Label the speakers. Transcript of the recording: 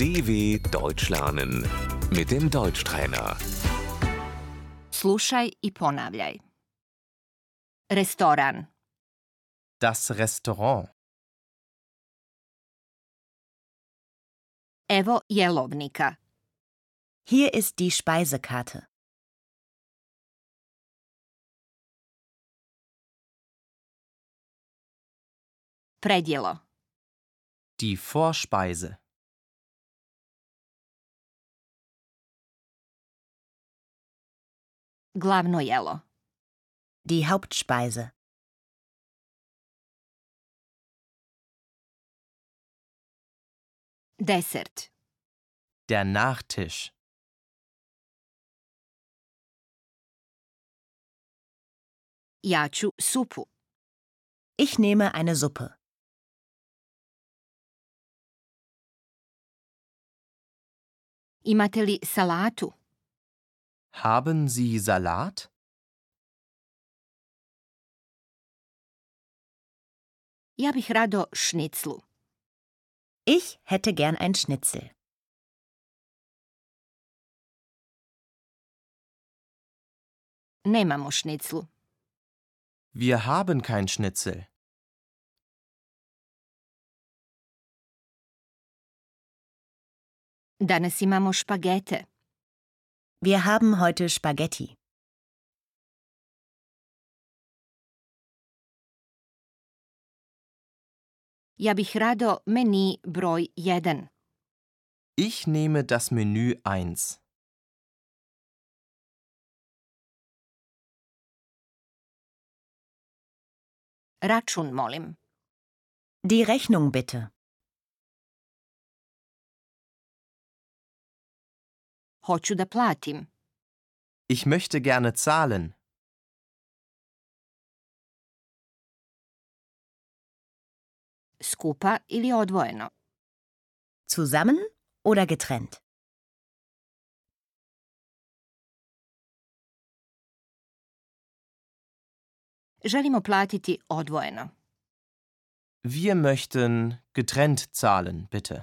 Speaker 1: DW Deutsch lernen mit dem Deutschtrainer.
Speaker 2: Slušaj i ponavljaj. Restoran,
Speaker 3: Das Restaurant,
Speaker 2: evo jelovnika,
Speaker 4: Hier ist die Speisekarte.
Speaker 2: predjelo,
Speaker 3: die Vorspeise,
Speaker 2: glavno jelo,
Speaker 4: Die Hauptspeise.
Speaker 2: desert,
Speaker 3: der Nachtisch,
Speaker 2: ja ću supu,
Speaker 4: Ich nehme eine Suppe.
Speaker 2: imate li salatu,
Speaker 3: Haben Sie Salat?
Speaker 2: ja bih rado šniclu,
Speaker 4: Ich hätte gern ein Schnitzel.
Speaker 2: nemamo šniclu,
Speaker 3: Wir haben kein Schnitzel.
Speaker 2: danas imamo špagete,
Speaker 4: Wir haben heute Spaghetti.
Speaker 2: ja bih rado meni broj 1,
Speaker 3: Ich nehme das Menü 1.
Speaker 2: račun molim,
Speaker 4: Die Rechnung bitte.
Speaker 2: hoću da platim,
Speaker 3: Ich möchte gerne zahlen.
Speaker 2: skupa ili odvojeno,
Speaker 4: Zusammen oder getrennt?
Speaker 2: želimo platiti odvojeno,
Speaker 3: Wir möchten getrennt zahlen, bitte.